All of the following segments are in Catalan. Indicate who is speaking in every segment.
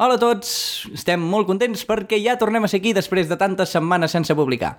Speaker 1: Hola a tots! Estem molt contents perquè ja tornem a ser aquí després de tantes setmanes sense publicar.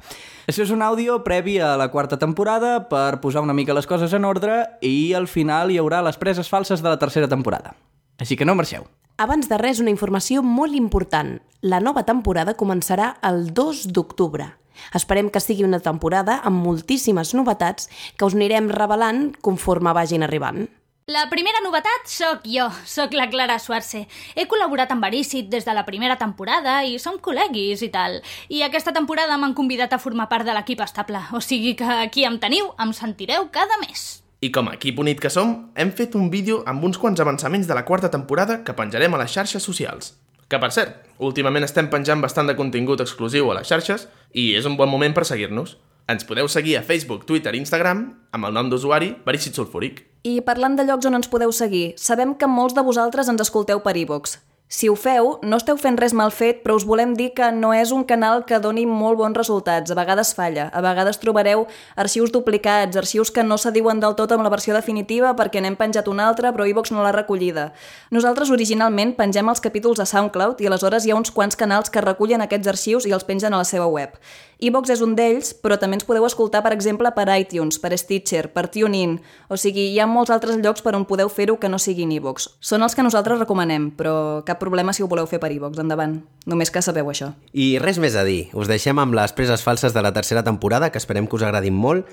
Speaker 1: Això és un àudio previ a la quarta temporada per posar una mica les coses en ordre i al final hi haurà les preses falses de la tercera temporada. Així que no marxeu.
Speaker 2: Abans de res, una informació molt important. La nova temporada començarà el 2 d'octubre. Esperem que sigui una temporada amb moltíssimes novetats que us anirem revelant conforme vagin arribant.
Speaker 3: La primera novetat sóc jo, sóc la Clara Suarce. He col·laborat amb Verícit des de la primera temporada i som col·leguis i tal. I aquesta temporada m'han convidat a formar part de l'equip estable, o sigui que aquí em teniu, em sentireu cada mes.
Speaker 4: I com a equip unit que som, hem fet un vídeo amb uns quants avançaments de la quarta temporada que penjarem a les xarxes socials. Que, per cert, últimament estem penjant bastant de contingut exclusiu a les xarxes i és un bon moment per seguir-nos. Ens podeu seguir a Facebook, Twitter i Instagram amb el nom d'usuari Verícit Sulfúric.
Speaker 5: I parlant de llocs on ens podeu seguir, sabem que molts de vosaltres ens escolteu per iVox. Si ho feu, no esteu fent res mal fet, però us volem dir que no és un canal que doni molt bons resultats. A vegades falla, a vegades trobareu arxius duplicats, arxius que no s'adiuen del tot amb la versió definitiva perquè n'hem penjat una altra, però iVox no l'ha recollida. Nosaltres originalment pengem els capítols a SoundCloud i aleshores hi ha uns quants canals que recullen aquests arxius i els pengen a la seva web. iVox és un d'ells, però també ens podeu escoltar, per exemple, per iTunes, per Stitcher, per TuneIn, o sigui, hi ha molts altres llocs per on podeu fer-ho que no siguin iVox. Són els que nosaltres recomanem, però cap problema si ho voleu fer per iVox, endavant. Només que sabeu això.
Speaker 6: I res més a dir, us deixem amb les preses falses de la tercera temporada, que esperem que us agradin molt,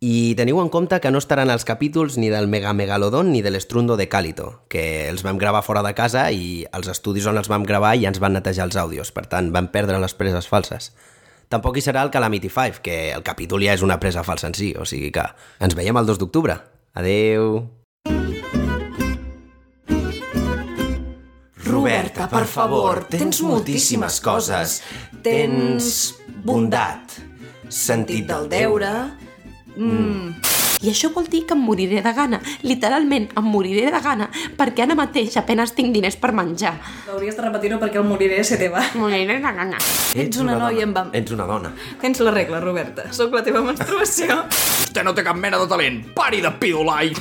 Speaker 6: i teniu en compte que no estaran els capítols ni del Mega Megalodon ni de l'Estrundo de Càlito, que els vam gravar fora de casa i els estudis on els vam gravar ja ens van netejar els àudios, per tant van perdre les preses falses. Tampoc hi serà el Calamity 5, que el capítol ja és una presa falsa en si, o sigui que ens veiem el 2 d'octubre. Adeu!
Speaker 5: Roberta, per favor, tens moltíssimes coses. Tens bondat,
Speaker 6: sentit
Speaker 2: I això vol dir que em moriré de gana. Literalment, em moriré de gana, perquè ara mateix apenes tinc diners per menjar.
Speaker 5: Hauries de repetir-ho perquè el moriré se te va.
Speaker 2: Moriré de gana.
Speaker 5: Ets una noia en vam-
Speaker 6: Ets una dona.
Speaker 5: Tens la regla, Roberta. Sóc la teva menstruació.
Speaker 7: Vostè no té cap mena de talent. Pari de piular. i-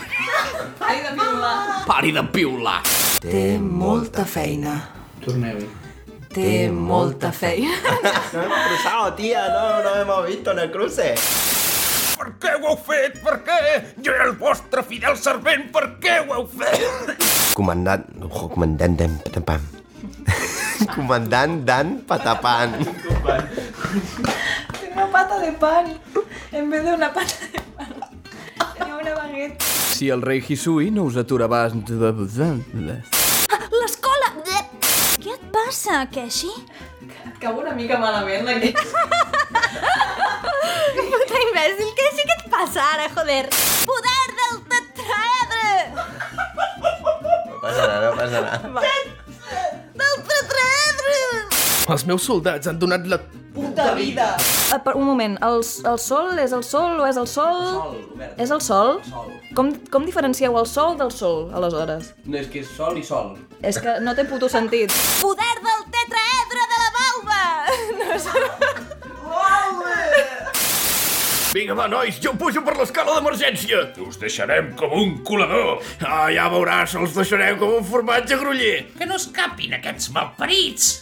Speaker 5: Ai, de piular.
Speaker 7: Pari de piular.
Speaker 5: Té molta feina. Torneu-hi. Té molta feina.
Speaker 6: No hemos cruzado, tía, no, no hemos visto en el cruce.
Speaker 7: Per què ho heu fet? Per què? Jo era el vostre fidel servent. Per què ho heu fet?
Speaker 6: Comandant... Ojo, comandant d'en Patapan. comandant d'en Patapan.
Speaker 5: Una pata de pan. En vez de una pata de pan. Tenia una bagueta.
Speaker 1: Si el rei Hisui no us aturarà...
Speaker 3: Ah, L'escola! Què et passa, Keshi?
Speaker 5: Acabo una mica malament, la que...
Speaker 3: Puta imbècil, Keshi, què et passa ara, joder? Poder del tetraedre!
Speaker 6: No passarà, no passarà.
Speaker 3: Del tetraedre!
Speaker 4: Els meus soldats han donat la...
Speaker 5: Eh, Un moment, el, el sol és el sol o és el sol? és el sol? Com, com diferencieu el sol del sol, aleshores?
Speaker 1: No, és que és sol i sol.
Speaker 5: És que no té puto sentit.
Speaker 3: Poder del tetraedre de la balba! No sé...
Speaker 7: Vinga, va, nois, jo pujo per l'escala d'emergència. Us deixarem com un colador. Ah, ja veuràs, els deixarem com un formatge gruller. Que no escapin aquests malparits.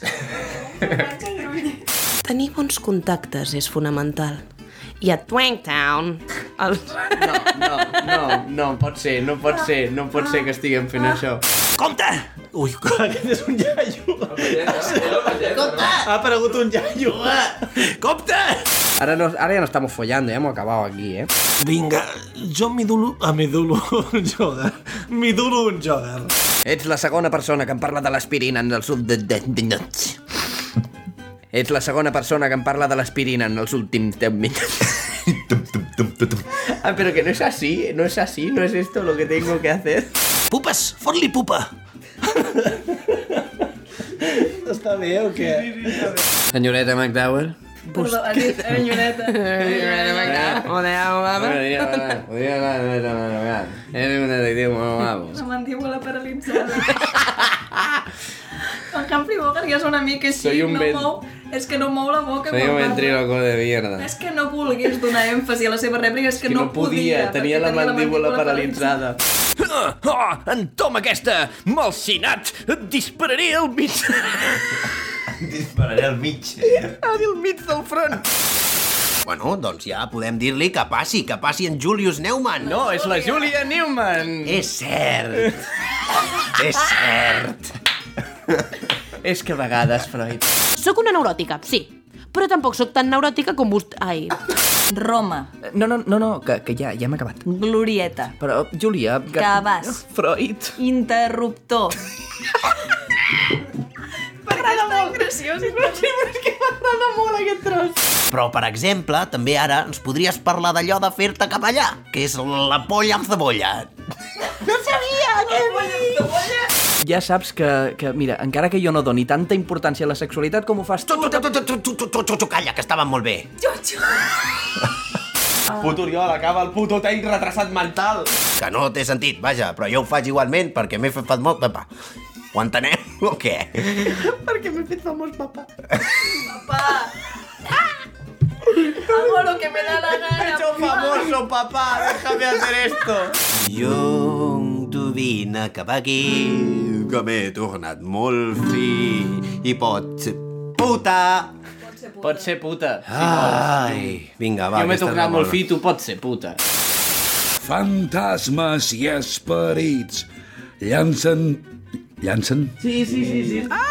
Speaker 2: Tenir bons contactes és fonamental. I a Twangtown, els...
Speaker 8: no, no, no pot ser, no pot ser, no pot ser que estiguem fent això.
Speaker 7: Compte!
Speaker 6: Ui, aquest és un iaio.
Speaker 8: Ha aparegut un iaio.
Speaker 7: Compte!
Speaker 8: Ara, no, ara ja no estamos follando, ja hemos acabado aquí, eh?
Speaker 6: Vinga, jo m'hi dolo... Ah, m'hi dolo un joder. M'hi dolo un joder.
Speaker 8: Ets la segona persona que em parla de l'aspirina en el sud de... de, de minuts. Ets la segona persona que em parla de l'aspirina en els últims 10 minuts. Ah, pero que no es así, no es así, no es esto lo que tengo que hacer.
Speaker 7: Pupes, fot-li pupa.
Speaker 8: Senyoreta McDowell.
Speaker 5: Perdó, ha dit enyoreta.
Speaker 8: Hola, Podria anar, podria anar, podria anar. Eres un detectiu molt guapo.
Speaker 5: La mandíbula paralitzada. El Humphrey Bogart ja és una mica així,
Speaker 8: Soy un
Speaker 5: no
Speaker 8: ven-
Speaker 5: mou, és que no mou la boca
Speaker 8: Soy
Speaker 5: quan
Speaker 8: un
Speaker 5: parla.
Speaker 8: ventríloco de mierda.
Speaker 5: És que no vulguis donar èmfasi a la seva rèplica, és que,
Speaker 8: Que no
Speaker 5: podia,
Speaker 8: podia, tenia
Speaker 5: perquè
Speaker 8: la mandíbula paralitzada.
Speaker 7: Ah, Oh, entoma aquesta! Malsinat! Et dispararé al mig...
Speaker 9: Dispararé al mig. eh?
Speaker 7: al mig del front!
Speaker 6: Bueno, doncs ja podem dir-li que passi, que passi en Julius Neumann.
Speaker 8: No, és la Julia Newman.
Speaker 6: És cert. és cert.
Speaker 8: És que a vegades, Freud...
Speaker 2: Sóc una neuròtica, sí. Però tampoc sóc tan neuròtica com vostè... Ai.
Speaker 5: Roma,
Speaker 1: No, no, no, no que, que ja, ja hem acabat.
Speaker 5: glorieta,
Speaker 1: Però, Júlia... Que...
Speaker 5: Cabàs.
Speaker 1: Freud.
Speaker 5: interruptor.
Speaker 6: Però, per exemple, també ara ens podries parlar d'allò de fer-te capellà, que és la polla amb cebolla.
Speaker 1: Ja saps que, que, mira, encara que jo no doni tanta importància a la sexualitat com ho fas
Speaker 6: Tu,
Speaker 1: tu...
Speaker 6: tu, tu, tu, tu, tu, tu, tu, tu, tu, calla, que estaven molt bé.
Speaker 7: Ah,
Speaker 8: Puto Oriol, acaba el puto tenc retrasat mental.
Speaker 6: Que no té sentit, vaja, però jo ho faig igualment perquè m'he fet fat molt... Papa, ho entenem o què?
Speaker 8: Perquè m'he fet famós, papa. Papá. Hago lo que me da la gana. Me he hecho famoso, papá. Déjame hacer esto.
Speaker 6: Young, tu vine cap aquí, que m'he tornat molt fi i pot ser puta.
Speaker 8: Pot ser puta.
Speaker 6: Ai, vinga, va.
Speaker 8: jo m'he
Speaker 6: aquesta és la
Speaker 8: tornat molt
Speaker 6: bona.
Speaker 8: fi, tu pots ser puta.
Speaker 10: Fantasmes i esperits llancen... Llancen?
Speaker 6: O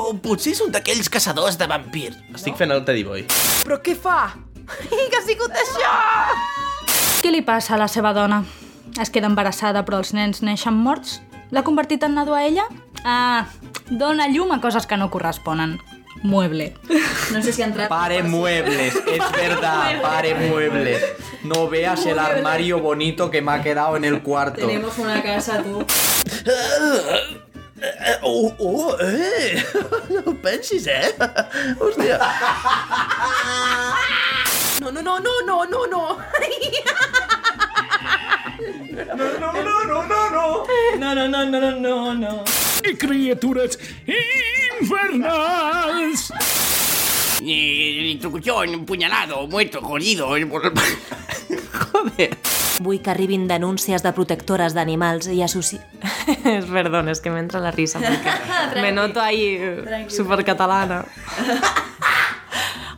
Speaker 6: Oh, potser és un d'aquells caçadors de vampirs.
Speaker 4: Estic fent el Teddy Boy.
Speaker 2: Però què fa? I que ha sigut això?
Speaker 3: Què li passa a la seva dona? Es queda embarassada però els nens neixen morts? L'ha convertit en nadó a ella? Ah, dona llum a coses que no corresponen. Mueble.
Speaker 5: No sé si ha entrat...
Speaker 1: Pare muebles, es verdad, pare muebles. No veas el armario bonito que me ha quedado en el cuarto.
Speaker 5: una casa, tu.
Speaker 7: Oh, oh, eh! No ho pensis, eh? Hòstia!
Speaker 2: No, no, no, no, no, no, no.
Speaker 5: No, no, no, no, no, no, no.
Speaker 10: I criatures infernals!
Speaker 7: Introcución, puñalado, muerto, jodido...
Speaker 11: Vull que arribin denúncies de protectores d'animals i associ... Perdón, és que m'entra la risa perquè me noto ahí eh, supercatalana.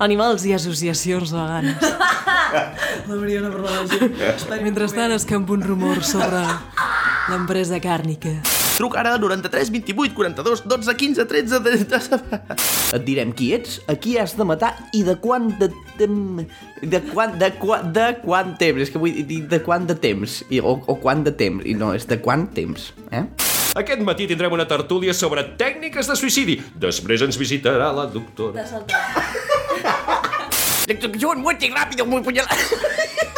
Speaker 11: Animals i associacions veganes. La Mariona per la gent. Mentrestant escampo un rumor sobre l'empresa càrnica.
Speaker 4: Truca ara al 93 28 42 12 15 13... De... de-
Speaker 1: Et direm qui ets, a qui has de matar i de quant de temps... De quant, de, quan, de quant temps, és que vull dir de quant de temps, I, o, o quant de temps, i no, és de quant temps, eh?
Speaker 10: Aquest matí tindrem una tertúlia sobre tècniques de suïcidi. Després ens visitarà la doctora.
Speaker 7: Introcución, muerte, rápido, muy puñalado...